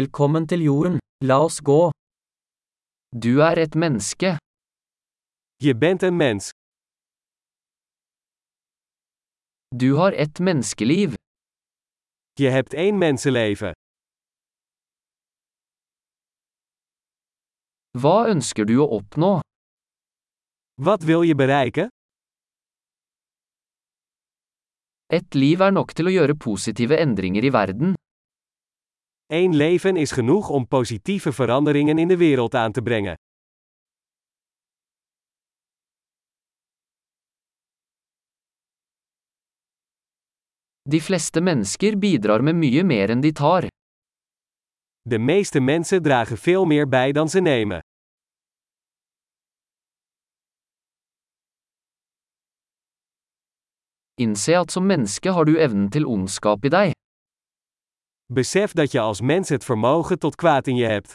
Velkommen til jorden, la oss gå. Du er et menneske. Je bent een mens. Du har ett menneskeliv. Je hebt één mensenleven. Hva ønsker du å oppnå? Wat wil je bereiken? Et liv er nok til å gjøre positive endringer i verden. Eén leven is genoeg om positieve veranderingen in de wereld aan te brengen. De fleste mennesker bidrar med mye mer enn de tar. De meeste mensen dragen veel meer bij dan ze nemen. Innse at som menneske har du evnen til ondskap i deg. Besef dat je als mens het vermogen tot kwaad in je hebt.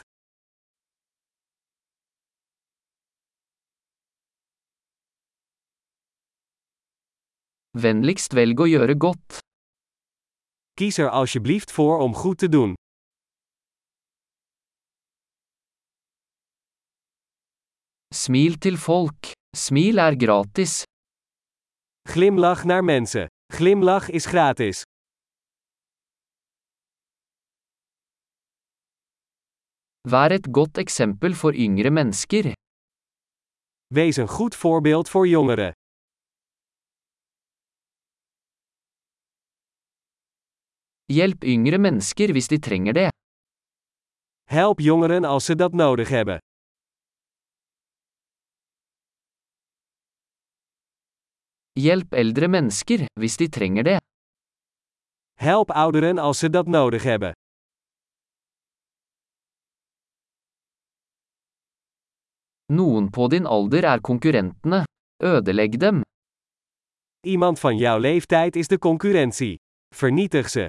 Vennligst velg å gjøre godt. Kies er alsjeblieft voor om goed te doen. Smil til folk. Smil er gratis. Glimlach naar mensen. Glimlach is gratis. Vær et godt eksempel for yngre mennesker. Wees een goed voorbeeld voor jongeren. Hjelp yngre mennesker hvis de trenger det. Help jongeren als ze dat nodig hebben. Hjelp eldre mennesker hvis de trenger det. Help ouderen als ze dat nodig hebben. Noen på din alder er konkurrentene. Ødelegg dem. Iemand van jouw leeftijd is de concurrentie. Vernietig ze.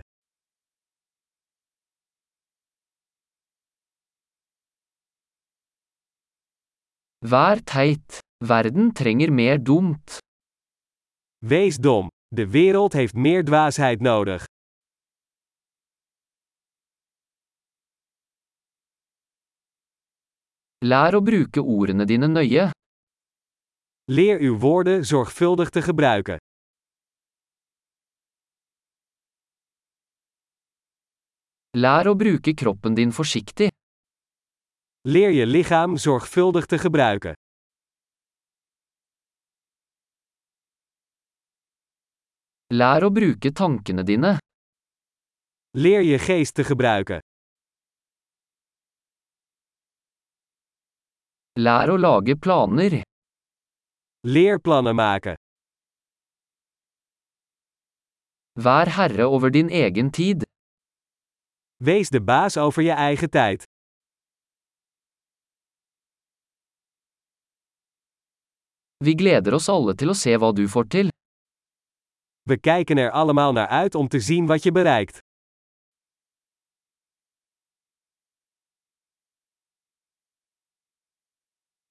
Vær teit. Verden trenger mer dumt. Wees dom. De wereld heeft meer dwaasheid nodig. Lær å bruke ordene dine nøye. Leer uw woorden zorgvuldig te gebruiken. Lær å bruke kroppen din forsiktig. Leer je lichaam zorgvuldig te gebruiken. Lær å bruke tankene dine. Leer je geest te gebruiken. Lær å lage planer. Leer plannen maken. Vær herre over din egen tid. Wees de baas over je eigen tijd. Vi gleder oss alle til å se hva du får til. We kijken er allemaal naar uit om te zien wat je bereikt.